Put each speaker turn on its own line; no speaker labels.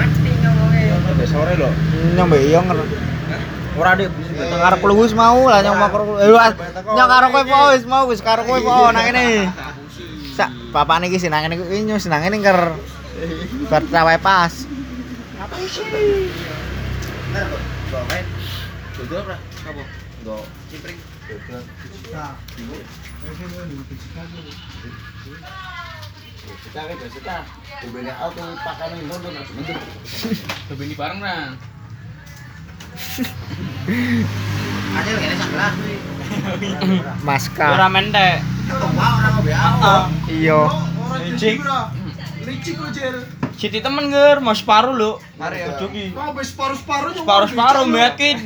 Udah sore loh.
nyong beyong ora deh ngarep lu wis mau lah nyong makro eh wis nyong karo kowe po wis mau wis karo kowe po nang kene sak papane iki sinang kene kuwi nyong sinang kene ker bertawa pas
Dodol apa? Apa? Go. Cipring. Dodol. Kita kan kita. Berbeda auto pakai ini nonton harus mendur.
Kebini bareng nang.
Aja lagi enak lah.
maskar
mentek.
Kita mau orang mau BAO.
iya
Licik. Licik lo Jel.
Siti temen nger, mau separuh lu.
Mari ya.
Jogi.
Mau bes paru-parunya.
Separuh-separuh mbek